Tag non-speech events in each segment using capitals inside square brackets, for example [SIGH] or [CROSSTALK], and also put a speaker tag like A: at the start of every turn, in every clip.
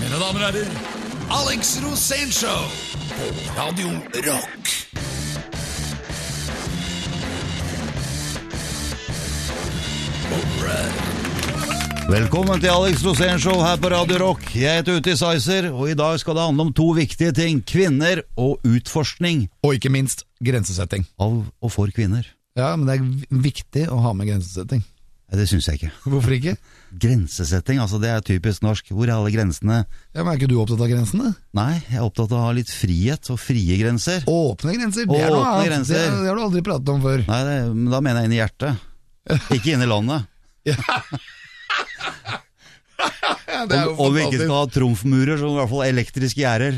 A: Mine damer og herrer, Alex Rosénshow på Radio Rock.
B: Velkommen til Alex Rosén-show her på Radio Rock. Jeg heter Uti Sizer, og i dag skal det handle om to viktige ting. Kvinner og utforskning
C: Og ikke minst grensesetting.
B: av og for kvinner.
C: Ja, men det er v- viktig å ha med grensesetting.
B: Nei, det syns jeg ikke.
C: Hvorfor ikke?
B: Grensesetting, altså det er typisk norsk. Hvor er alle grensene?
C: Ja, men Er ikke du opptatt av grensene?
B: Nei, jeg er opptatt av å ha litt frihet og frie grenser.
C: Åpne grenser, det er noe
B: Åpne
C: annet.
B: grenser.
C: Det, det har du aldri pratet om før.
B: Nei, det, men da mener jeg inn i hjertet. Ikke inn i landet.
C: Ja, [LAUGHS] det er
B: Om,
C: jo
B: om vi ikke
C: fantastisk.
B: skal ha trumfmurer, så i hvert fall elektriske gjerder.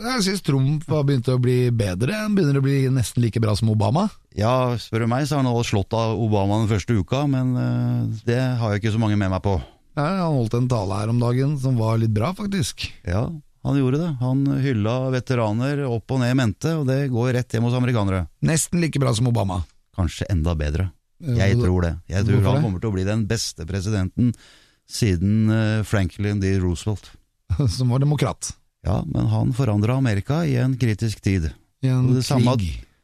C: Jeg syns Trump har begynt å bli bedre. Han begynner å bli nesten like bra som Obama.
B: Ja, spør du meg, så har han slått av Obama den første uka, men eh, det har jeg ikke så mange med meg på.
C: Ja, han holdt en tale her om dagen som var litt bra, faktisk.
B: Ja, han gjorde det. Han hylla veteraner opp og ned i mente, og det går rett hjem hos amerikanere.
C: Nesten like bra som Obama.
B: Kanskje enda bedre. Jeg tror det. Jeg tror
C: Hvorfor
B: han
C: det?
B: kommer til å bli den beste presidenten siden eh, Franklin D. Roosevelt.
C: [LAUGHS] Som var demokrat.
B: Ja, men han forandra Amerika i en kritisk tid.
C: I en
B: Og det
C: krig.
B: samme-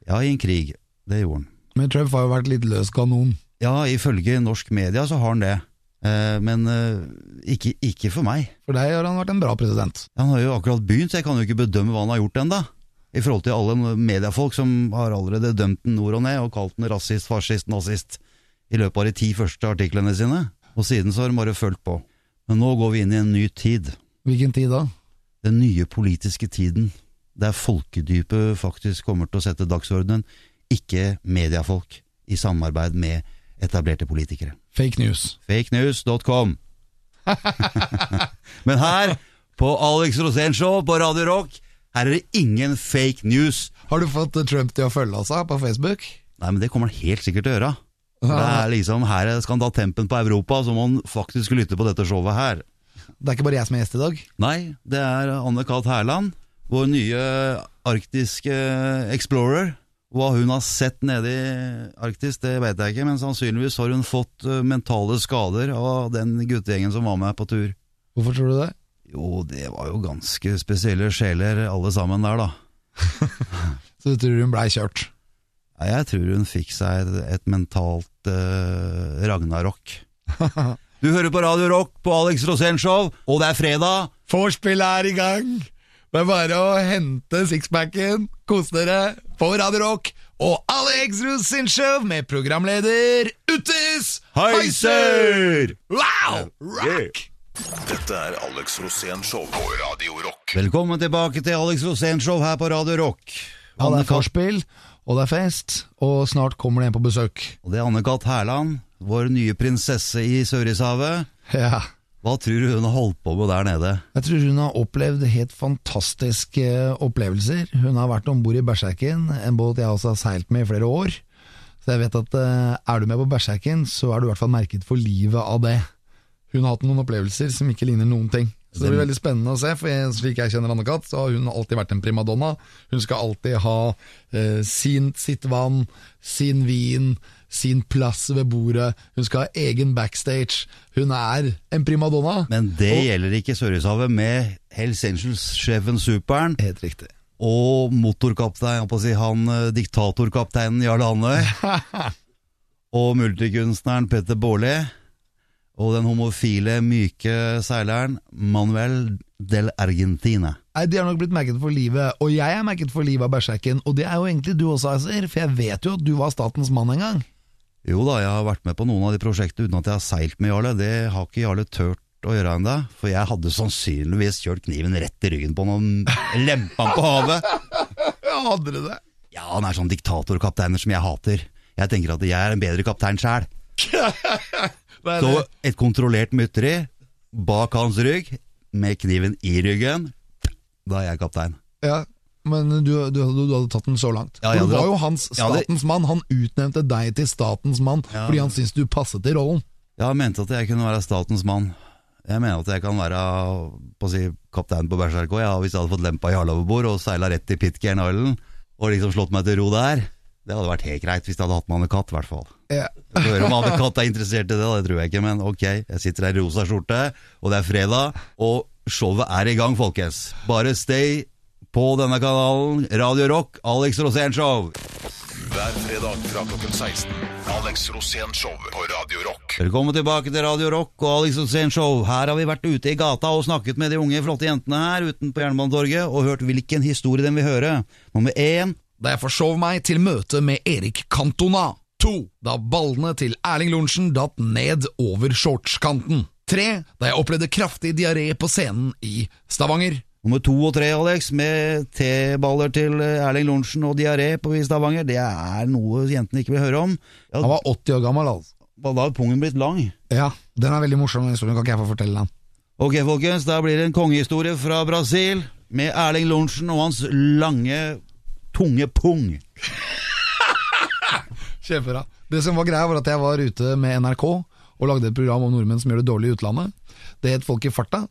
B: Ja, i en krig. Det gjorde han.
C: Men Trump har jo vært litt løs kanon.
B: Ja, ifølge norsk media så har han det. Eh, Men eh, ikke, ikke for meg.
C: For deg har han vært en bra president.
B: Han har jo akkurat begynt, så jeg kan jo ikke bedømme hva han har gjort ennå. I forhold til alle mediefolk som har allerede dømt den nord og ned og kalt den rasist, fascist, nazist i løpet av de ti første artiklene sine. Og siden så har de bare fulgt på. Men nå går vi inn i en ny tid.
C: Hvilken tid da?
B: Den nye politiske tiden. Der folkedypet faktisk kommer til å sette dagsordenen, ikke mediefolk i samarbeid med etablerte politikere
C: Fake news.
B: fakenews.com. [LAUGHS] Men her, på Alex Rosén Show på Radio Rock, her er det ingen fake news.
C: Har du fått Trump til å følge oss av på Facebook?
B: Nei, men det kommer han helt sikkert til å gjøre. Det er liksom, her skal han ta tempen på Europa, så må han faktisk lytte på dette showet her.
C: Det er ikke bare jeg som er gjest i dag.
B: Nei, det er Anne Kat. Herland, vår nye arktiske explorer. Hva hun har sett nede i Arktis, det vet jeg ikke, men sannsynligvis har hun fått eh, mentale skader av den guttegjengen som var med på tur.
C: Hvorfor tror du det?
B: Jo, det var jo ganske spesielle sjeler alle sammen der, da.
C: Så du tror hun blei kjørt.
B: Nei, Jeg tror hun fikk seg et- et mentalt eh,
C: [LAUGHS]
B: ragnarok. Du hører på Radio Rock på Alex Rosénshow, og det er fredag.
C: Vorspielet er i gang! Det er bare å hente sixpacken, kose dere, få Radio Rock og Alex Rusinshov med programleder Uttis Wow! Rock!
A: Dette er Alex Rosén Show på Radio Rock.
B: Velkommen tilbake til Alex Rosénshow her på Radio Rock.
C: Ja, det
B: Anne
C: er
B: Kat,
C: forspill, og det er fest, og snart kommer det en på besøk.
B: og det er Anne-Kat. Herland, vår nye prinsesse i Sørishavet.
C: Ja.
B: Hva tror du hun har holdt på med der nede?
C: Jeg tror hun har opplevd helt fantastiske opplevelser. Hun har vært om bord i Berserken, en båt jeg også har seilt med i flere år. Så jeg vet at eh, er du med på Berserken, så er du i hvert fall merket for livet av det. Hun har hatt noen opplevelser som ikke ligner noen ting. Så det blir veldig spennende å se, for jeg, slik jeg kjenner Anne-Kat, så har hun alltid vært en primadonna. Hun skal alltid ha eh, sin, sitt vann, sin vin, sin plass ved bordet. Hun skal ha egen backstage. Hun er en primadonna.
B: Men det gjelder ikke Sørishavet med Hells Angels-sjefen Superen.
C: Helt riktig.
B: og motorkaptein, jeg holdt på å si, han eh, diktatorkapteinen Jarle Andøy,
C: [LAUGHS]
B: og multikunstneren Petter Baarli, og den homofile, myke seileren Manuel del Argentina.
C: Nei, De har nok blitt merket for livet, og jeg er merket for livet av Berserken. Og det er jo egentlig du også, Aiser, for jeg vet jo at du var statens mann en gang.
B: Jo da, jeg har vært med på noen av de prosjektene uten at jeg har seilt med Jarle. Det har ikke Jarle tørt å gjøre ennå, for jeg hadde sannsynligvis kjørt kniven rett i ryggen på noen lempa på havet.
C: Ja, hadde du det?
B: Ja, han er sånn diktatorkapteiner som jeg hater. Jeg tenker at jeg er en bedre kaptein sjæl.
C: Nei,
B: Så
C: det,
B: et kontrollert mytteri bak hans rygg, med kniven i ryggen. Da er jeg kaptein.
C: ja. Men du, du, du, du hadde tatt den så langt.
B: Ja,
C: For
B: jeg hadde
C: du var
B: tatt-
C: jo hans
B: jeg hadde-
C: statens mann. Han utnevnte deg til statens mann
B: Ja.
C: fordi han syntes du passet til rollen.
B: Jeg mente at jeg kunne være statens mann. Jeg mener at jeg kan være på å si, kaptein på Berserk òg, ja, hvis jeg hadde fått lempa Jarle overbord og seila rett til Pitcairn Island og liksom slått meg til ro der. Det hadde vært helt greit hvis jeg hadde hatt med Anne-Kat. i hvert fall.
C: Ja.
B: Vi får høre om Anne-Kat. er interessert i det, det tror jeg ikke, men ok. Jeg sitter her i rosa skjorte, og det er fredag, og Showet er i gang, folkens. Bare stay på denne kanalen. Radio Rock, Alex Rosén Show.
A: Hver fredag fra klokken 16. Alex Rosén Show på Radio Rock.
B: Velkommen tilbake til Radio Rock og Alex Rosén Show. Her har vi vært ute i gata og snakket med de unge, flotte jentene her uten på Jernbanetorget, og hørt hvilken historie de vil høre. Nummer én
D: da jeg forsov meg til møte med Erik Cantona. 2. Da ballene til Erling Lorentzen datt ned over shortskanten. 3. Da jeg opplevde kraftig diaré på scenen i Stavanger.
B: Nummer to og tre, Alex, med teballer til Erling Lorentzen og diaré på i Stavanger, det er noe jentene ikke vil høre om. Ja,
C: Han var 80 år gammel, altså.
B: da har pungen blitt lang.
C: Ja, den er veldig morsom, historien kan ikke jeg få fortelle den.
B: Ok, folkens, da blir det en kongehistorie fra Brasil, med Erling Lorentzen og hans lange, tunge pung.
C: Kjempebra. Det som var greia, var at jeg var ute med NRK og lagde et program om nordmenn som gjør det dårlig i utlandet. Det het Folk i farta.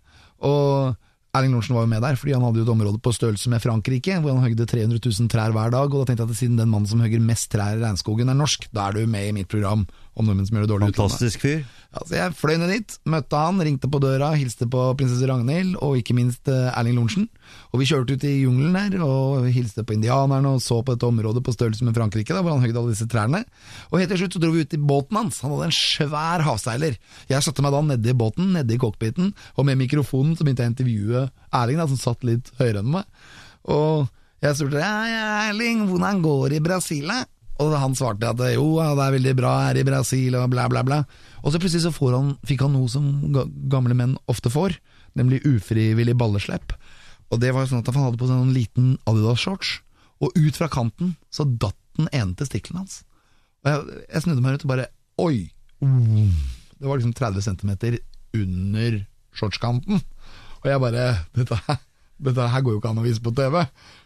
C: Og Erling Lorentzen var jo med der, fordi han hadde jo et område på størrelse med Frankrike, hvor han høgde 300 000 trær hver dag. Og da tenkte jeg at siden den mannen som høgger mest trær i regnskogen, er norsk, da er du med i mitt program om nordmenn som gjør det dårlig i utlandet.
B: Fantastisk fyr.
C: Ja, så Altså, jeg fløy ned dit, møtte han, ringte på døra, hilste på prinsesse Ragnhild, og ikke minst eh, Erling Lorentzen. Og vi kjørte ut i jungelen der, og hilste på indianerne, og så på dette området på størrelse med Frankrike, da, hvor han høgde alle disse trærne. Og helt til slutt så dro vi ut i båten hans, han hadde en svær havseiler. Jeg satte meg da nedi båten, nedi cockpiten, og med mikrofonen så begynte jeg å intervjue Erling, da, som satt litt høyere enn meg. Og jeg spurte ja, ja, Erling, hvordan går det i Brasil? da?» Og han svarte at jo, ja, det er veldig bra her i Brasil, og bla, bla, bla. Og så plutselig så får han, fikk han noe som ga- gamle menn ofte får, nemlig ufrivillig balleslepp. Og det var jo sånn at han hadde på seg noen liten Adidas-shorts, og ut fra kanten så datt den ene testikkelen hans. Og jeg, jeg snudde meg rundt og bare Oi! Mm. Det var liksom 30 cm under shortskanten. Og jeg bare dette, her- dette her går jo ikke an å vise på TV.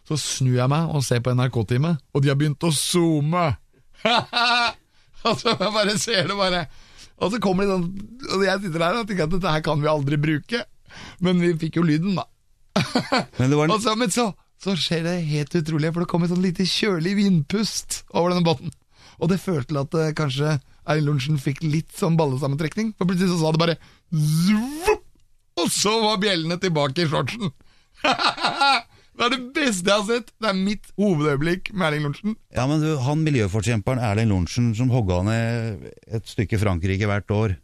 C: Så snur jeg meg og ser på NRK-time, og de har begynt å zoome! [LAUGHS] altså, jeg bare ser det bare. Og så kommer de sånn Og jeg sitter der og tenker at dette her kan vi aldri bruke. Men vi fikk jo lyden, da.
B: Men det var
C: Og
B: en,
C: så, men så, så skjer det helt utrolig, for det kom et sånn lite kjølig vindpust over denne båten. Og det førte til at eh, kanskje Eirin Lorentzen fikk litt sånn ballesammentrekning, for plutselig så sa det bare zvup, og så var bjellene tilbake i shortsen. [LAUGHS] det er det beste jeg har sett. Det er mitt hovedøyeblikk med Erling Lorentzen.
B: ja, men du, han miljøforkjemperen Erling Lorentzen som hogga ned et stykke Frankrike hvert år,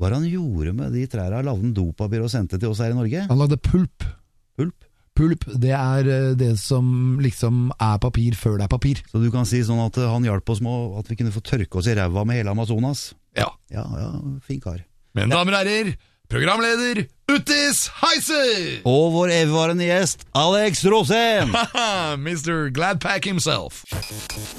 B: hva er det han gjorde med de trærne? Lagde han dopapir og sendte til oss her i Norge?
C: Han lagde pulp.
B: Pulp.
C: Pulp, det er eh, det som liksom er papir før det er papir.
B: Så du kan si sånn at eh, han hjalp oss med å- at vi kunne få tørke oss i ræva med hele Amazonas.
D: Ja.
B: Ja, ja, fin kar.
D: Men damer og herrer, programleder Uttis Heiser!
B: Og vår evigvarende gjest, Alex Rosén!
D: Haha, Mr. Gladpack himself.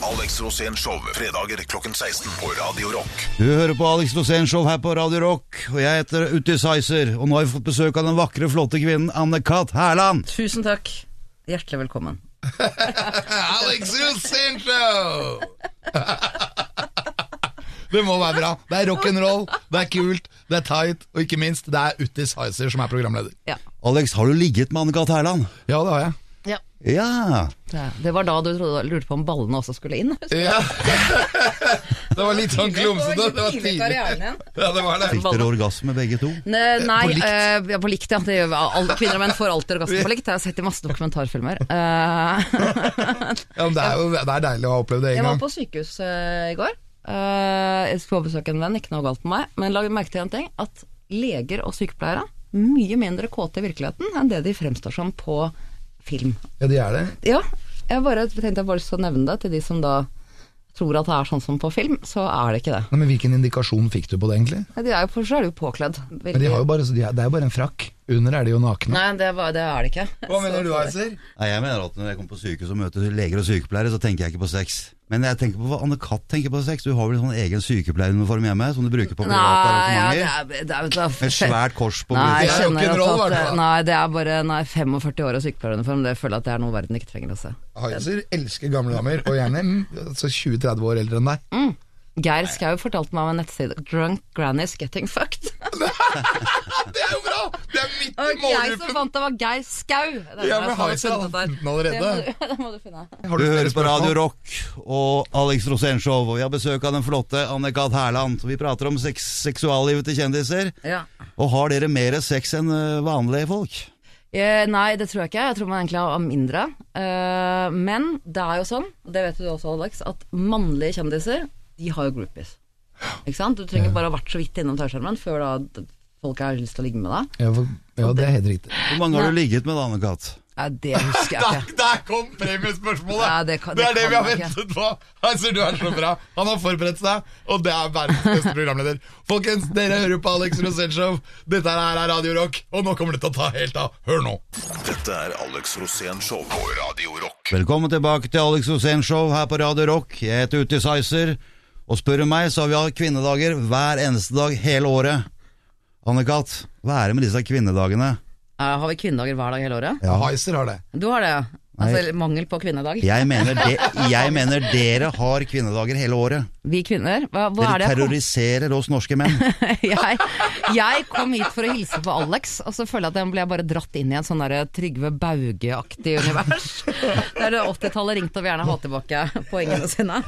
A: Alex Rosén Show fredager klokken 16 på Radio Rock.
B: Du hører på Alex Rosén Show her på Radio Rock, og jeg heter Utti Sizer. Og nå har vi fått besøk av den vakre, flotte kvinnen Anne-Kat. Hærland.
E: Tusen takk. Hjertelig velkommen.
D: Alex Rosén
C: [LAUGHS]
D: Show! Det må være bra. Det er rock'n'roll, det er kult, det er tight, og ikke minst, det er Uttis Heiser som er programleder.
E: Ja.
B: Alex, har du ligget med Anne-Kat. Hærland?
C: Ja, det har jeg.
E: ja.
B: Ja.
E: Det var da du trodde, lurte på om ballene også skulle inn?
C: [LAUGHS]
D: Ja. Det var litt sånn klumsete. Det var tidlig. Ja, det var det.
B: Fikk dere orgasme, begge to?
E: Nei,
D: På likt.
E: eh, ja, på likt, ja. Det gjør alle, kvinner og menn får alltid orgasme på likt. Jeg har sett det i masse dokumentarfilmer. Eh,
C: Ja, men det er jo det er deilig å ha opplevd det en
E: [LAUGHS] jeg var
C: gang.
E: på sykehus eh, i går. Eh, jeg skulle besøke en venn, ikke noe galt med meg. Men la merke til en ting, at leger og sykepleiere mye mindre kåte i virkeligheten enn det de fremstår som på film.
C: Ja, de er det.
E: Ja, jeg bare tenkte jeg bare skal nevne det til de som da tror at det er sånn som på film, så er det ikke det.
C: Nei, men Hvilken indikasjon fikk du på det, egentlig?
E: Nei, De er jo, for så er de jo påkledd. Veldig-
C: Men de har jo bare, så de er, Det er jo bare en frakk. Under er de jo nakne.
E: Nei, det, var, det er det ikke.
D: Hva mener du, Heiser?
B: Nei, jeg mener at Når jeg kommer på sykehus og møter leger og sykepleiere, så tenker jeg ikke på sex. Men jeg tenker på hva Anne-Kat. tenker på sex. Du har vel en sånn egen sykepleieruniform hjemme som du bruker på private
E: Nei, ja, det
B: arrangementer?
E: er, det er, det er
B: Med svært kors på
E: Nei,
D: Det er
B: brystet.
E: jeg
D: jo ikke
E: skjønner
D: en roll, i
E: også
D: hvert
E: at
D: fall.
E: Nei, det er bare nei, 45 år og sykepleieruniform. Det føler jeg at det er noe verden ikke trenger å se.
C: Heiser elsker gamle damer, og gjerne mm, altså 20-30 år eldre enn deg.
E: Geir Skau fortalte meg om en nettside Drunk Granny's Getting
D: [LAUGHS]
E: Fucked.
D: Det er jo bra! Det er midt i
E: Og jeg som
D: målgruppen!
E: fant det, var Geir Skau. Det er
D: Ja,
E: jeg
D: men
E: som
D: har
E: hadde
D: jeg ikke
E: funnet
D: hatt den allerede?
E: Det må [LAUGHS] du, det må du finne.
D: Har
B: Du
D: flere
B: hører på
D: spørsmål?
B: Radio Rock og Alex Rosénshow, og vi har besøk av den flotte Anne-Kat. Hærland. Vi prater om sex seksuallivet til kjendiser.
E: Ja.
B: Og har dere mer sex enn eh, vanlige folk?
E: Eh, nei, det tror jeg ikke. Jeg tror man egentlig har mindre. Eh, men det er jo sånn, og det vet du også, Alex, at mannlige kjendiser, de har jo groupies. Ikke sant? Du trenger bare å ha vært så vidt innom tørrskjermen før da d- folk har lyst til å ligge med deg.
C: Ja, for, ja, det er helt riktig.
B: Hvor mange har du ligget med, da, Anne-Kat.?
E: Nei, det husker jeg
D: Der,
E: ikke.
D: der kom premiespørsmålet!
E: Ja, det kan-
D: det er det
E: det kan
D: vi har
E: jeg ikke.
D: ventet på! Altså, du er så bra. Han har forberedt seg, og det er verdens beste programleder. Folkens, dere hører på Alex Rosenshov. Dette her er Radio Rock, og nå kommer det til å ta helt av. Hør nå.
A: Dette er Alex Rosén Show på Radio Rock.
B: Velkommen tilbake til Alex Rosénshow her på Radio Rock. Jeg heter Uti Sizer, og spør du meg, så har vi hatt kvinnedager hver eneste dag hele året. Anne-Kat., hva er det med disse kvinnedagene?
E: [LAUGHS] Eh, har vi kvinnedager hver dag hele året?
B: Ja.
C: Heiser har det.
E: Du har det, ja.
B: Nei.
E: Altså mangel på kvinnedag.
B: Jeg mener, de, jeg mener dere har kvinnedager hele året.
E: Vi kvinner, hva, hva er
B: Dere
E: det jeg kom-
B: terroriserer oss norske menn.
E: [LAUGHS] jeg, jeg kom hit for å hilse på Alex, og så føler jeg at den ble jeg bare dratt inn i en sånn der Trygve Bauge-aktig univers. Der det 80-tallet ringte og vil gjerne ha tilbake poengene sine.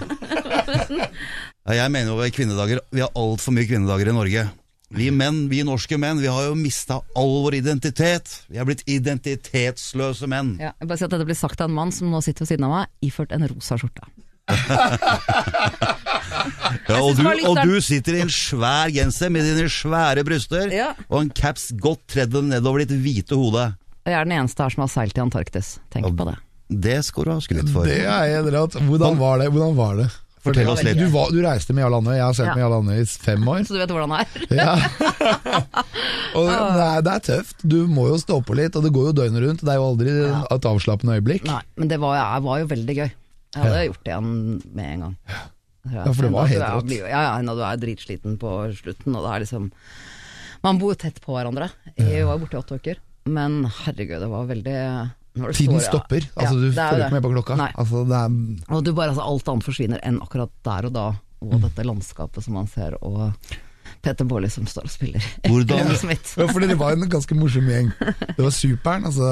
E: [LAUGHS]
B: Ja, jeg mener jo at kvinnedager Vi har altfor mye kvinnedager i Norge. Vi menn, vi norske menn, vi har jo mista all vår identitet. Vi er blitt identitetsløse menn.
E: Ja, jeg bare si at dette blir sagt av en mann som nå sitter ved siden av meg, iført en rosa skjorte.
B: Ja, og,
E: synes
B: du,
E: bare
B: og
E: lytteren-
B: du sitter i en svær genser med dine svære bryster
E: Ja.
B: og en caps godt tredd nedover ditt hvite hode.
E: Og jeg er den eneste her som har seilt til Antarktis. Tenk på det.
B: Det skal du ha skryt for.
C: Det er helt rart. Hvordan var det? Hvordan var det?
B: Fortell oss litt.
C: Du, var, du reiste med Jarl Andøy, jeg har sett
E: Ja.
C: med Jarl Andøy i fem
E: [LAUGHS]
C: år.
E: Så du vet hvordan det er. [LAUGHS]
C: Ja. og det er, det er tøft. Du må jo stå på litt, og det går jo døgnet rundt. Det er jo aldri et avslappende øyeblikk.
E: Nei, men det var, jeg var jo veldig gøy. Jeg hadde gjort det igjen med en gang.
C: Ja, for det var
E: Når du
C: helt
E: er-
C: rått.
E: blir- Ja, ja, når du er dritsliten på slutten, og det er liksom Man bor jo tett på hverandre. Jeg var borte i åtte uker. Men herregud, det var veldig når du
C: Tiden
E: står- ja.
C: stopper. Altså,
E: Ja,
C: du
E: det er jo
C: følger
E: det.
C: ikke med på klokka.
E: Nei.
C: Altså, det er,
E: Og du bare, altså, alt annet forsvinner enn akkurat der og da,
C: Mm.
E: og dette landskapet som man ser, og Peter Baarli som står og spiller.
B: Hvordan-
E: Leo Smith.
C: ja, for dere var en ganske morsom gjeng. Det var superen, altså.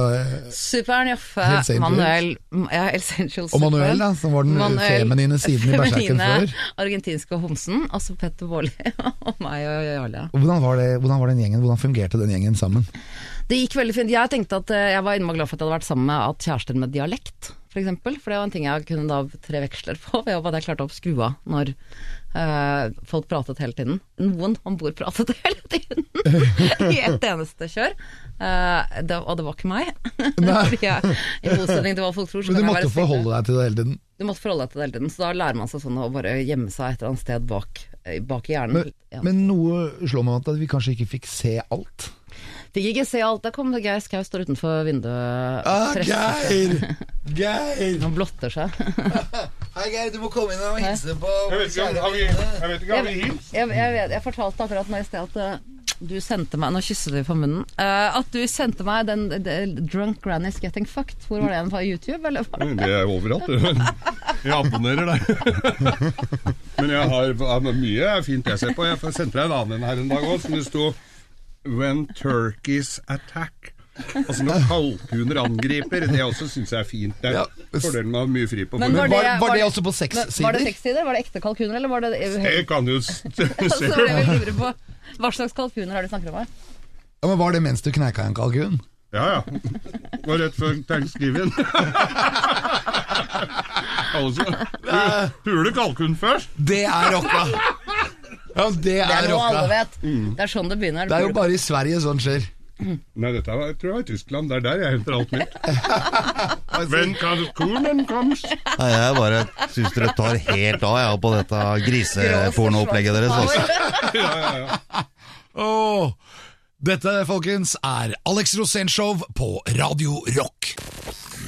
E: Superen
C: Hells
E: Jaffe,
C: Angels.
E: Manuel ja, Hells Angels
C: Og Manuel,
E: Superen.
C: da, som var den
E: Manuel,
C: feminine siden
E: [LAUGHS]
C: i Berserken
E: feminine,
C: før.
E: argentinske homsen, og så Petter Baarli [LAUGHS] og meg og Jarle.
C: Og Hvordan var, det, hvordan var den gjengen? Hvordan fungerte den gjengen sammen?
E: Det gikk veldig fint. Jeg tenkte at eh, jeg var innmari glad for at jeg hadde vært sammen med at kjærester med dialekt, for eksempel. For det var en ting jeg kunne da tre veksler på, ved at jeg klarte å skru av når eh, folk pratet hele tiden. Noen om bord pratet [LAUGHS] hele tiden! I ett eneste kjør. Eh, det, og det var ikke meg. [LAUGHS] Fordi jeg, I motsetning til hva folk tror, så
C: Men du
E: kan jeg være
C: måtte
E: single.
C: forholde deg til det hele tiden.
E: Du måtte forholde deg til det hele tiden, så da lærer man seg sånn å bare gjemme seg et eller annet sted bak, eh, bak i hjernen.
C: Men,
E: Ja.
C: men noe slår meg at vi kanskje ikke fikk se alt.
E: Fikk ikke se alt. Der kom det Geir Skau, står utenfor vinduet. presser seg.
C: Ah, Geir!
E: [LAUGHS]
C: Geir!
E: Han blotter seg.
C: Hei, Geir, du må komme inn og
E: hilse
C: på
E: [LAUGHS] Jeg, jeg, jeg, vet, jeg fortalte akkurat nå i sted at eh, du sendte meg Nå kysset vi på munnen. eh, at du sendte meg den, den Drunk Granny's Getting Fucked. Hvor var det? På YouTube, eller? var det-
F: Det er overalt. det. Jeg abonnerer der. Men jeg har ja, men mye er fint jeg ser på. Jeg sendte deg en annen en her en dag òg, som det sto 'When turkeys attack'. Altså når kalkuner angriper. Det også syns jeg er fint. Det
C: Ja.
F: er fordelen med å ha mye fri på
E: Men
F: forhånd.
C: Var, var,
E: var
C: det
E: det-
C: også på seks
E: Men, var det
C: sider?
E: seks sider? Var det ekte kalkuner, eller var det
F: Det kan du
E: [LAUGHS]
F: s-
E: Så
F: se.
E: ble vi lure på Hva slags kalkuner er det du snakker om her?
C: Ja, men var det mens du kneika en kalkun?
F: Ja, ja. Det var rett før thanksgiving. Altså, pu- Pule kalkun først.
C: Det er rocka! Ja, det
E: Det
C: er
E: er noe alle
C: rocka. Mm.
E: vet. Det er sånn det begynner.
C: Det er jo bare i Sverige sånn skjer.
F: Nei, dette var, jeg tror jeg var i Tyskland. Det er der jeg henter alt mitt. When kalkunen comes
B: Nei, jeg bare syns dere tar helt av jeg, på dette
F: eh,
B: grisepornoopplegget deres. Altså.
F: [LAUGHS]
C: Åh.
D: Dette, folkens, er Alex Rosenshov på Radio Rock.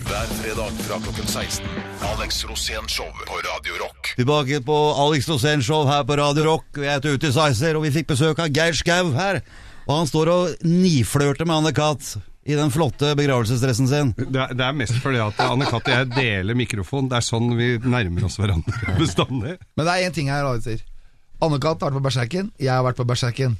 A: Hver fredag fra klokken 16. Alex Rosén Show på Radio Rock.
B: Tilbake på Alex Rosén Show her på Radio Rock. Jeg heter Uti Sizer, og vi fikk besøk av Geir Skau her. Og han står og niflørter med Anne-Kat. i den flotte begravelsesdressen sin.
F: Det er, det er mest fordi at Anne-Kat og jeg deler mikrofon. Det er sånn vi nærmer oss hverandre [LAUGHS] bestandig.
C: Men det er én ting her, Alex sier. Anne-Kat. har vært på Berserken. Jeg har vært på Berserken.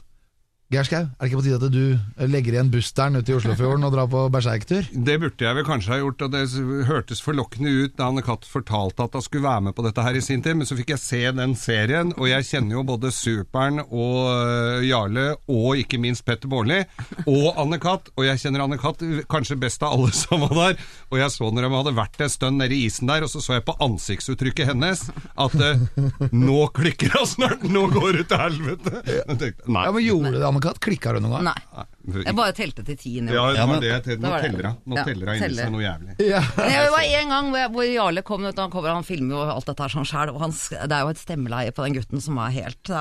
C: Geir Skau, er det ikke på tide at du legger igjen busteren ute i Oslofjorden og drar på berserktur?
F: Det burde jeg vel kanskje ha gjort, og det hørtes forlokkende ut da Anne-Kat. fortalte at hun skulle være med på dette her i sin tid, men så fikk jeg se den serien, og jeg kjenner jo både Superen og øh, Jarle, og ikke minst Petter Bårli, og Anne-Kat., og jeg kjenner Anne-Kat. kanskje best av alle [LAUGHS] som var der, og jeg så når de hadde vært et stund nede i isen der, og så så jeg på ansiktsuttrykket hennes at øh, nå klikker det snart, nå går det til helvete! Jeg tenkte, nei,
C: Ja, men Gjorde det, Anne-Kat.? Klikka du noen gang?
E: Nei. Jeg bare telte til ti
F: ja,
E: nedover.
F: det
B: Ja,
F: var
B: men-
F: det jeg tenkte.
E: Det
F: Nå
E: var det.
F: teller hun. Nå
E: Ja,
F: teller hun inni
E: teller.
F: seg noe jævlig.
C: Ja.
E: Nei, det var en gang hvor, jeg, hvor Jarle kom, vet du, han kommer og han filmer jo alt dette her sånn sjæl, og han, sk- det er jo et stemmeleie på den gutten som er helt [LAUGHS]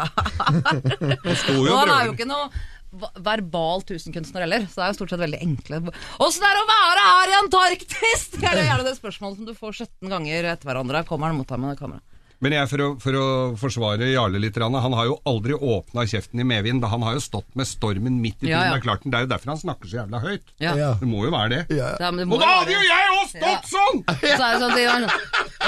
F: jo
E: Og han
F: og
E: er jo ikke noe va- verbal tusenkunstner heller, så det er jo stort sett veldig enkle Åssen er det å være her i Antarktis?! Det er det gjerne det spørsmålet som du får 17 ganger etter hverandre. Kommer han mot deg med kamera?
F: Men jeg, for, å, for å forsvare Jarle litt, grann, han har jo aldri åpna kjeften i medvind. Han har jo stått med stormen midt i tiden.
E: Ja, ja.
F: Det er klart, Det er jo derfor han snakker så jævla høyt.
E: Ja.
C: Ja.
F: Det må jo være det.
C: Ja.
E: Ja, men det må
F: Og da
E: jo
F: hadde
E: være-
F: jo jeg òg stått sånn!
E: [LAUGHS] Så er det sånn, sier han,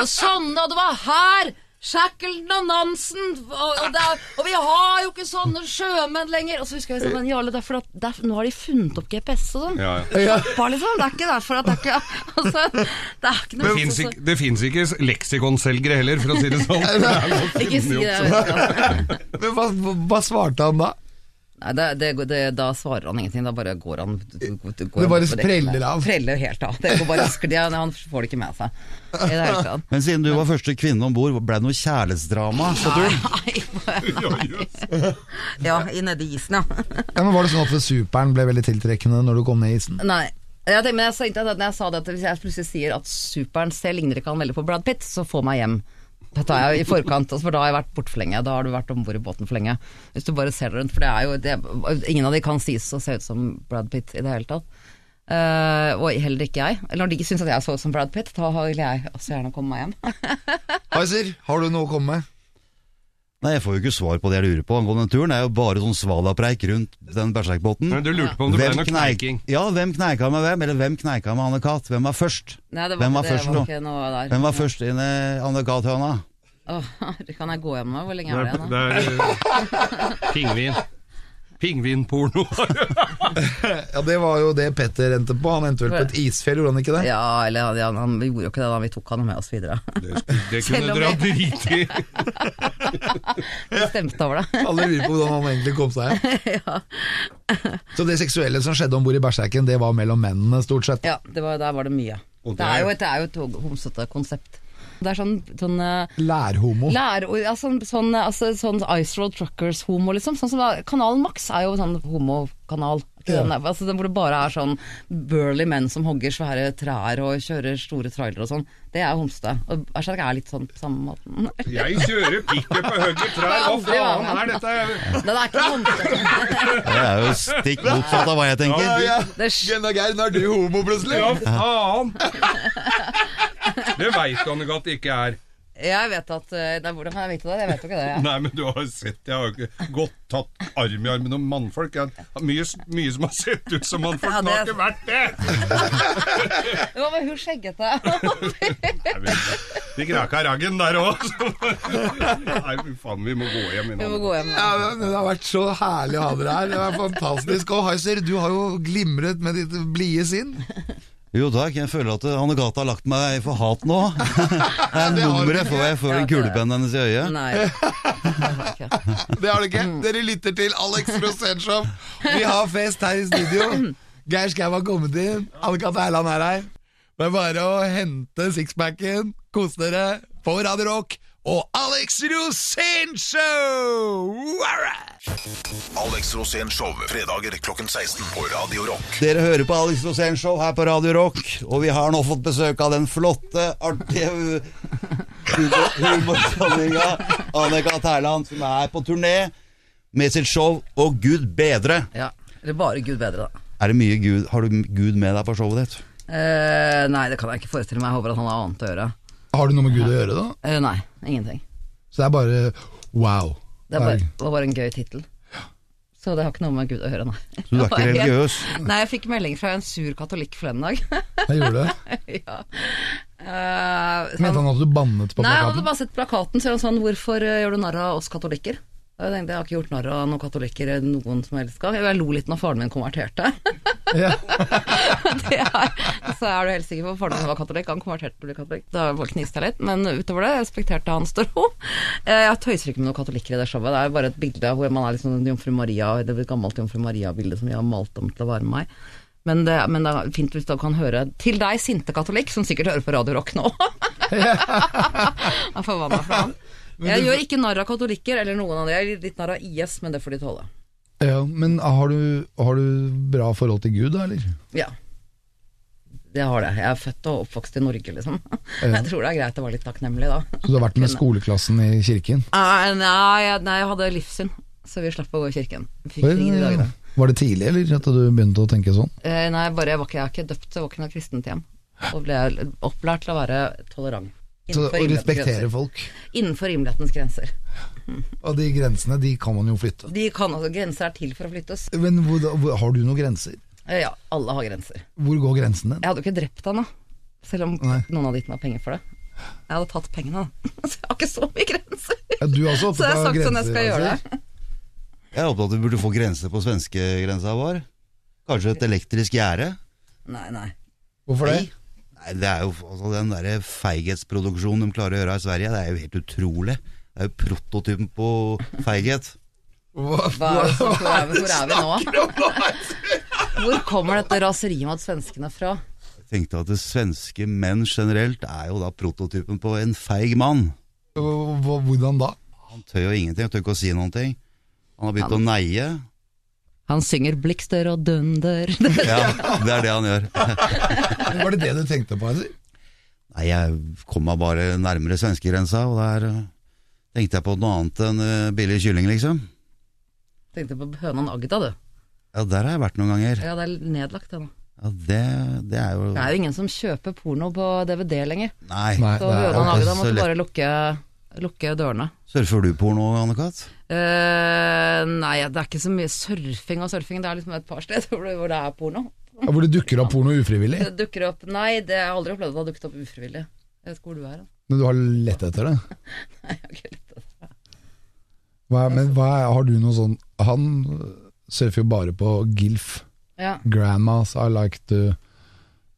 E: og sånn, og det var her Shackleton og Nansen og, og, der, og vi har jo ikke sånne sjømenn lenger Og så husker jeg sånn, men Jarle, det er fordi at derf- Nå har de funnet opp GPS og sånn
F: Ja, ja.
E: Slapp av, liksom, det er ikke derfor at det er ikke [LAUGHS] altså, Det er ikke noe
F: Det fins
E: så-
F: ikke, det finnes ikke leksikonselgere heller, for å si det sånn. Det er noe
E: så- Ikke si
F: funnet opp.
E: det, [LAUGHS] altså.
C: Men hva, hva svarte han da?
E: Nei, det, det, det, da svarer han ingenting, da bare går han går
C: Det bare
E: han-
C: spreller av.
E: Spreller helt av, det går bare skli, han, han får det ikke med seg I det hele tatt
B: Men siden du var første kvinne om bord, ble det noe kjærlighetsdrama på turen?
E: Ja, i nede i isen, ja
C: Ja, men Var det sånn at superen ble veldig tiltrekkende når du kom ned i isen?
E: Nei. Jeg tenkte, men jeg sa ikke at når jeg sa det at hvis jeg plutselig sier at superen selv ligner ikke han veldig på Brad Pitt, så få meg hjem. Dette er jo i forkant, altså, for da har jeg vært borte for lenge. Da har du vært om bord i båten for lenge. Hvis du bare ser deg rundt, for det er jo det, Ingen av de kan sies å se ut som Brad Pitt i det hele tatt. Eh, og heller ikke jeg. Eller når de syns at jeg så ut som Brad Pitt, da vil jeg også gjerne komme meg hjem. [LAUGHS]
C: Heiser, har du noe å komme med?
B: Nei, jeg får jo ikke svar på det jeg lurer på angående den turen. Det er jo bare sånn svalapreik rundt den berserkbåten.
F: Men Du lurte på om det ble noe
B: kneik-
F: kneiking.
B: Ja, hvem kneika med hvem? Eller hvem kneika med Anne-Kat.? Hvem var først?
E: Nei, det var,
B: Hvem
E: ikke-
B: var først
E: det var
B: nå?
E: ikke noe der.
B: Hvem var først inn i Anne-Kat.-høna?
E: Åh, [LAUGHS] kan jeg gå hjem nå? Hvor lenge
F: Det
E: er
F: er,
E: det igjen?
F: det
E: nå?
F: er eh, pingvin. Pingvinporno.
E: [LAUGHS]
C: Ja, Det var jo det Petter endte på. Han endte vel på et isfjell, gjorde han ikke det?
E: Ja, eller ja, han gjorde jo ikke det da, vi tok han med oss videre. [LAUGHS]
F: Det, det
E: Selv
F: kunne
E: om
F: dere ha
E: jeg-
F: driti i.
E: Vi stemte
B: [LAUGHS]
E: over det.
C: Alle lurer på hvordan han egentlig kom seg hjem. Så det seksuelle som skjedde om bord i Berserken, det var mellom mennene, stort sett.
E: Ja, det var, der var det mye.
F: Og
E: Det er
F: der-
E: jo et, det er jo et ho- homsete konsept. Det er sånn, sånn eh,
C: Lærhomo.
E: Lære, ja, sånn, sånn, altså, sånn Ice Road Truckers-homo, liksom. Sånn som, da- kanalen Max er jo sånn homokanal. Ikke
C: Ja.
E: den der, Altså, den hvor det bare er sånn burly menn som hogger svære trær og kjører store trailere og sånn. Det er homsete. Og Berserk er litt sånn på samme måten. [LAUGHS]
F: Jeg kjører pikken på høyre trær, hva faen er dette?
E: Den er ikke homsete.
B: Det er jo stikk motsatt av hva jeg tenker.
E: Det er
C: Gennar Geir, nå er du homo plutselig!
F: Ja, faen! Det veit du, Anne-Kat. ikke er.
E: Jeg vet at eh, Nei, hvordan kan jeg vite det? Jeg vet jo ikke det. Jeg.
F: Nei, men du har jo sett Jeg har jo ikke gått tatt arm i arm med noen mannfolk. Jeg har mye, mye som har sett ut som mannfolk.
E: Ja,
F: det har
E: det-
F: ikke vært det!
E: Det var bare hun skjeggete. [LAUGHS]
F: Nei, men, de kraka raggen der òg. Nei, fy faen, vi må gå hjem
E: Vi må
F: innan.
E: gå hjem. nå.
C: Ja, men Det har vært så herlig å ha dere her. Det er fantastisk. Og Heiser, du har jo glimret med ditt blide sinn.
B: Jo takk, jeg føler at Anne-Kat. har lagt meg for hat nå. [LAUGHS] Det er nummeret for jeg får en kulepenn hennes i øyet.
E: Nei. Det er ikke.
C: Det har du ikke. Dere lytter til Alex Rosenshov. Vi har fest her i studio. Geir Skau har kommet inn. Anne-Kat. Erland er her. Det er bare å hente sixpacken, kose dere på Radio Rock og Alex Rosenshov! Alright!
G: Alex Rosén Show, fredager klokken 16 på Radio Rock.
B: Dere hører på Alex Rosén Show her på Radio Rock, og vi har nå fått besøk av den flotte, artige humor- humorsanninga Anne-Kat. Erland, som er på turné med sitt show Og gud bedre.
E: Ja, eller bare Gud bedre, da.
B: Er det mye Gud, Har du Gud med deg på showet ditt?
E: Eh, nei, det kan jeg ikke forestille meg. Jeg håper at han har annet å gjøre.
C: Har du noe med Gud å gjøre, da?
E: Eh, nei, ingenting.
C: Så det er bare wow.
E: Det, er bare, det var bare en gøy tittel. Så det har ikke noe med Gud å gjøre, nei. [LAUGHS]
B: Så du er ikke
E: Jeg-
B: religiøs?
E: Nei, jeg fikk melding fra en sur katolikk for en dag. [LAUGHS]
C: Jeg gjorde det.
E: ja. Eh, så
C: Mente
E: han,
C: han at du bannet på
E: nei, han hadde
C: plakaten?
E: bare sett plakaten, så han sånn Hvorfor eh, gjør du narr av oss katolikker? Og Jeg tenkte, jeg har ikke gjort narr av noen katolikker eller noen som helst gang. Jeg lo litt når faren min konverterte.
C: Ja.
E: [LAUGHS] det er, så er du helt sikker på at faren min var katolikk. Han konverterte til å bli katolikk. Da bare kniste jeg litt. Men utover det jeg respekterte jeg hans tro. Eh, Jeg tøyser ikke med noen katolikker i det showet. Det er bare et bilde hvor man er liksom en jomfru Maria, det er et gammelt jomfru Maria-bilde som vi har malt om til å være meg. Men det, men det er fint hvis du kan høre Til deg, sinte katolikk, som sikkert hører på Radio Rock nå. [LAUGHS] jeg er forbanna for
C: [LAUGHS]
E: han. Jeg gjør ikke narr av katolikker eller noen av det. Jeg er litt narr av IS, men det får de tåle.
C: Ja, men har du, har du bra forhold til Gud, da, eller?
E: Ja. Det har det. Jeg er født og oppvokst i Norge, liksom. [LAUGHS] Jeg tror det er greit å være litt takknemlig
C: [LAUGHS]
E: da.
C: Så du har vært med skoleklassen i kirken?
E: Nei, nei, jeg- nei, jeg hadde livssyn, så vi slapp å gå i kirken. Vi Fikk ingen i dag, da.
C: Var det tidlig, eller at du begynte å tenke sånn?
E: Eh, Nei, bare jeg var ikke, jeg er ikke døpt, så jeg var ikke noe kristent hjem. Og ble opplært til å være tolerant.
C: Så,
E: Innenfor
C: å respektere
E: rimelighetens grenser.
C: folk.
E: Innenfor rimelighetens grenser.
C: Og de grensene, de kan man jo flytte.
E: De kan altså, Grenser er til for å flyttes.
C: Men hvor, hvor, har du noen grenser?
E: Eh, Ja, alle har grenser.
C: Hvor går grensen din?
E: Jeg hadde jo ikke drept han da, selv om
C: Nei.
E: noen hadde gitt meg penger for det. Jeg hadde tatt pengene, da. [LAUGHS] så jeg har ikke så mye grenser.
C: Ja, du er også
E: Så jeg
C: opptatt
E: har
C: av
E: sagt
C: grenser.
E: sånn jeg skal gjøre
C: altså.
E: det.
B: Jeg er opptatt av at vi burde få grenser på svenskegrensa vår. Kanskje et elektrisk gjerde?
E: Nei, nei.
C: Hvorfor det?
B: Nei, det er jo altså, Den der feighetsproduksjonen de klarer å gjøre her i Sverige, det er jo helt utrolig. Det er jo prototypen på feighet.
C: Hva-
E: Hva er det som, hvor, er vi, hvor er vi nå? Hvor kommer dette raseriet mot svenskene fra?
B: Jeg tenkte at det svenske menn generelt er jo da prototypen på en feig mann.
C: hva- hva- Hvordan da?
B: Han tør jo ingenting, han tør ikke å si noen ting. Han har begynt å neie.
E: Han synger 'Blikster og dunder'. [LAUGHS]
B: Ja, det er det han gjør.
C: Var det det du tenkte på? Heiser?
B: Nei, jeg kom meg bare nærmere svenskegrensa, og der eh, tenkte jeg på noe annet enn eh, billig kylling, liksom.
E: Tenkte på hønan Agda, du.
B: Ja, der har jeg vært noen ganger.
E: Ja, det er nedlagt, det nå.
B: Ja, det, det er jo
E: Det er jo ingen som kjøper porno på DVD lenger.
B: Nei.
C: Nei,
E: Så
C: det er-
E: hønan
B: ikke
E: Agda
B: så
E: måtte
B: lett.
E: bare lukke, lukke dørene.
B: Surfer du porno, Anne-Kat.?
E: Eh, nei, det er ikke så mye surfing og surfing. Det er liksom et par steder [LAUGHS] hvor det- hvor det er porno.
C: Ja, Hvor det dukker opp porno ufrivillig?
E: Det dukker opp Nei, det jeg har aldri opplevd at det har dukket opp ufrivillig. Jeg vet ikke hvor du er. da. [LAUGHS]
C: Men du har lett etter det?
E: Jeg har ikke lett etter det.
C: Hva, er- men hva er, har du noe sånn Han øh, surfer jo bare på GILF.
E: Ja.
C: Grandmas I like to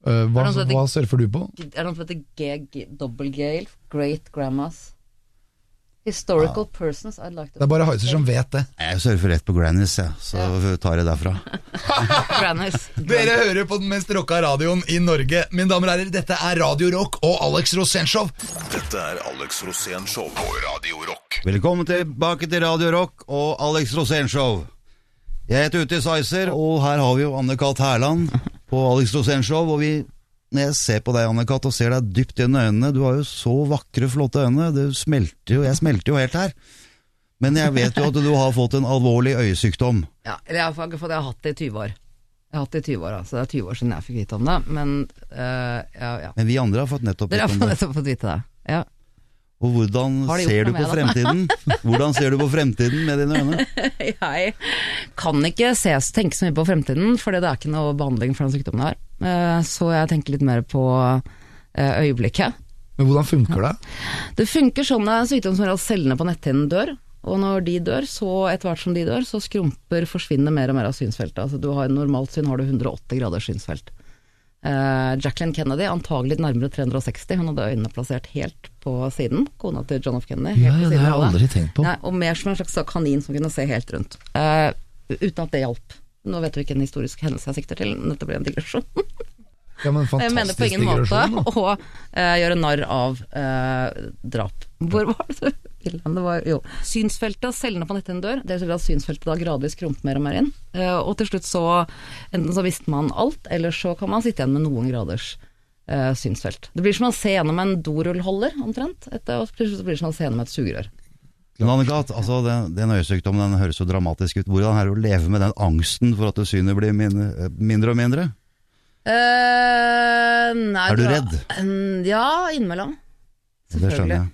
C: Øh, hva,
E: Er det noe som heter-
C: hva surfer du på?
E: Er det noe som heter G- G- double Gale? Great Grandmas? Historical persons I'd like
C: Det
E: to
C: er bare Heiser som vet det.
B: Nei, Jeg surfer rett på Grannies, jeg, så tar jeg derfra.
E: [LAUGHS] Grannies.
D: Dere hører på den mest rocka radioen i Norge. Mine damer og herrer, dette er Radio Rock og Alex Rosenshov.
G: Dette er Alex Rosén Show på Radio Rock.
B: Velkommen tilbake til Radio Rock og Alex Rosén-show. Jeg heter Uti Sizer, og her har vi jo Anne-Kat. Hærland
E: [LAUGHS]
B: på Alex Rosén-show. Og vi, når jeg ser på deg, Anne-Kat., og ser deg dypt inn i øynene Du har jo så vakre, flotte øyne. Det smelter jo, jeg smelter jo helt her. Men jeg vet jo at du har fått en alvorlig øyesykdom.
E: Ja, eller jeg har fa- fått, jeg har hatt det i 20 år. Jeg har hatt det i 20 år, altså. Det er 20 år siden jeg fikk vite om det. Men eh, ja, ja.
B: Men vi andre har fått nettopp
E: Dere
B: vite
E: har
B: om det.
E: nettopp fått vite det. Ja.
B: Og hvordan
E: Har de gjort
B: ser du
E: noe
B: på
E: med [LAUGHS]
B: fremtiden? Hvordan ser du på fremtiden med dine øyne?
E: Jeg kan ikke se, tenke så mye på fremtiden, for det er ikke noe behandling for den sykdommen jeg har. Eh, Så jeg tenker litt mer på eh, øyeblikket.
C: Men hvordan funker det?
E: Det funker sånn det er en sykdom som gjør at cellene på netthinnen dør. Og når de dør, så etter hvert som de dør, så skrumper, forsvinner mer og mer av synsfeltet. Altså du har normalt syn har du 180 graders synsfelt. Eh, Jacqueline Kennedy, antagelig nærmere 360, hun hadde øynene plassert helt på siden. Kona til John F. Kennedy. Helt på siden av det.
C: tenkt
E: Nei, og mer som en slags kanin som kunne se helt rundt. Eh, uten at det hjalp. Nå vet du ikke en historisk hendelse jeg sikter til, men dette ble en digresjon. [LAUGHS]
C: Ja, men
E: Jeg mener
C: fantastisk
E: på ingen måte
C: digresjon. da.
E: å eh, gjøre narr av eh, drap. Hvor var det du ville hen? Det var- jo. Synsfeltet og cellene på netthinnen dør. Det betyr at synsfeltet da gradvis krumper mer og mer inn. Eh, og til slutt så Enten så visste man alt, eller så kan man sitte igjen med noen graders eh, synsfelt. Det blir som å se gjennom en dorullholder, omtrent. Etter, og til slutt så blir det som å se gjennom et sugerør.
B: Men Anne-Kat, altså den, den øyesykdommen den høres så dramatisk ut. Hvordan er det å leve med den angsten for at synet blir min- mindre og mindre?
E: Eh, nei,
B: Er du
E: det var-
B: redd?
E: Mm, Ja, innimellom.
B: Det skjønner jeg.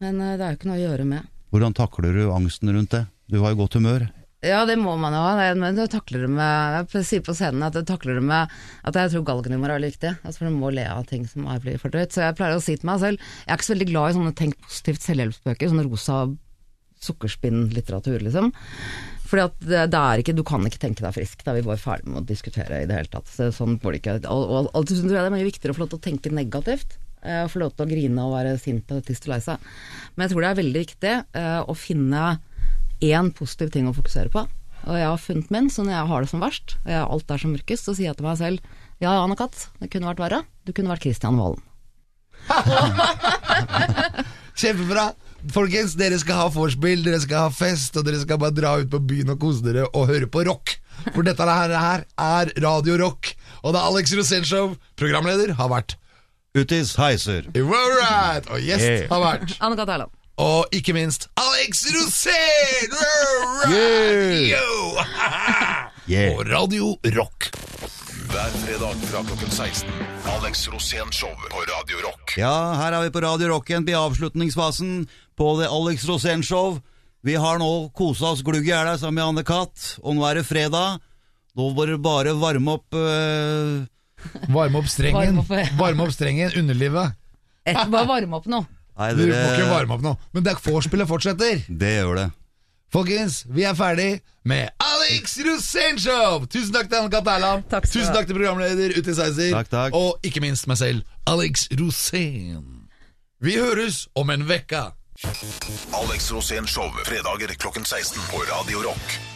E: Men eh, det er jo ikke noe å gjøre med.
B: Hvordan takler du angsten rundt det? Du har jo godt humør.
E: Ja, det må man jo ha. Det- Men jeg takler det med Jeg sier på scenen at jeg takler det med at jeg tror galgenhumor er veldig viktig. Altså, for du må le av ting som er blir for drøyt. Så jeg pleier å si til meg selv Jeg er ikke så veldig glad i sånne tenk positivt selvhjelpsbøker, sånne rosa sukkerspinnlitteratur, liksom. Fordi at det, det er ikke, Du kan ikke tenke deg frisk. Da er vi bare ferdig med å diskutere i det hele tatt. Så, sånn går det ikke. Og, og, og så tror jeg det er mye viktigere å få lov til å tenke negativt. eh, Få lov til å grine og være sint og tist og lei seg. Men jeg tror det er veldig viktig eh, å finne én positiv ting å fokusere på. Og jeg har funnet min, så når jeg har det som verst, og jeg, alt er som mørkest, så sier jeg til meg selv ja, ja, Anne-Kat, det kunne vært verre. Du kunne vært Kristian Valen.
C: Kjempebra! Folkens, dere skal ha vorspiel, dere skal ha fest, og dere skal bare dra ut på byen og kose dere og høre på rock. For dette her, her er Radio Rock, og det er Alex Rosenshov, programleder, har vært
B: Utis heiser.
C: Alright! Og gjest
B: Yeah.
C: har vært
E: Anne-Kat. Erland.
C: Og ikke minst Alex Rosén!
B: Yeah.
C: Yo!
B: Yeah.
C: På Radio Rock.
G: Hver fredag fra klokken 16. Alex Rosén Show på Radio Rock.
B: Ja, her er vi på Radio Rock igjen i avslutningsfasen på The Alex Rosén Show. Vi har nå kosa oss glugg i hjel her sammen med Anne-Kat, og nå er det fredag. Nå var det bare varme opp øh,
C: Varme opp strengen.
E: Varme opp-
C: Varme opp strengen, underlivet.
E: Et, bare varme opp nå.
B: Nei,
C: Du må ikke varme opp nå. Men det er vorspielet fortsetter.
B: Det gjør det.
C: Folkens, vi er ferdig med Alex Rosenshov! Tusen takk til Anne-Kat. Erland.
E: Takk skal du
C: Tusen
E: ha.
C: takk til programleder Uti Seiser.
B: Takk, takk.
C: Og ikke minst meg selv, Alex Rosén. Vi høres om en vekka.
G: Alex Rosén Show fredager klokken 16 på Radio Rock.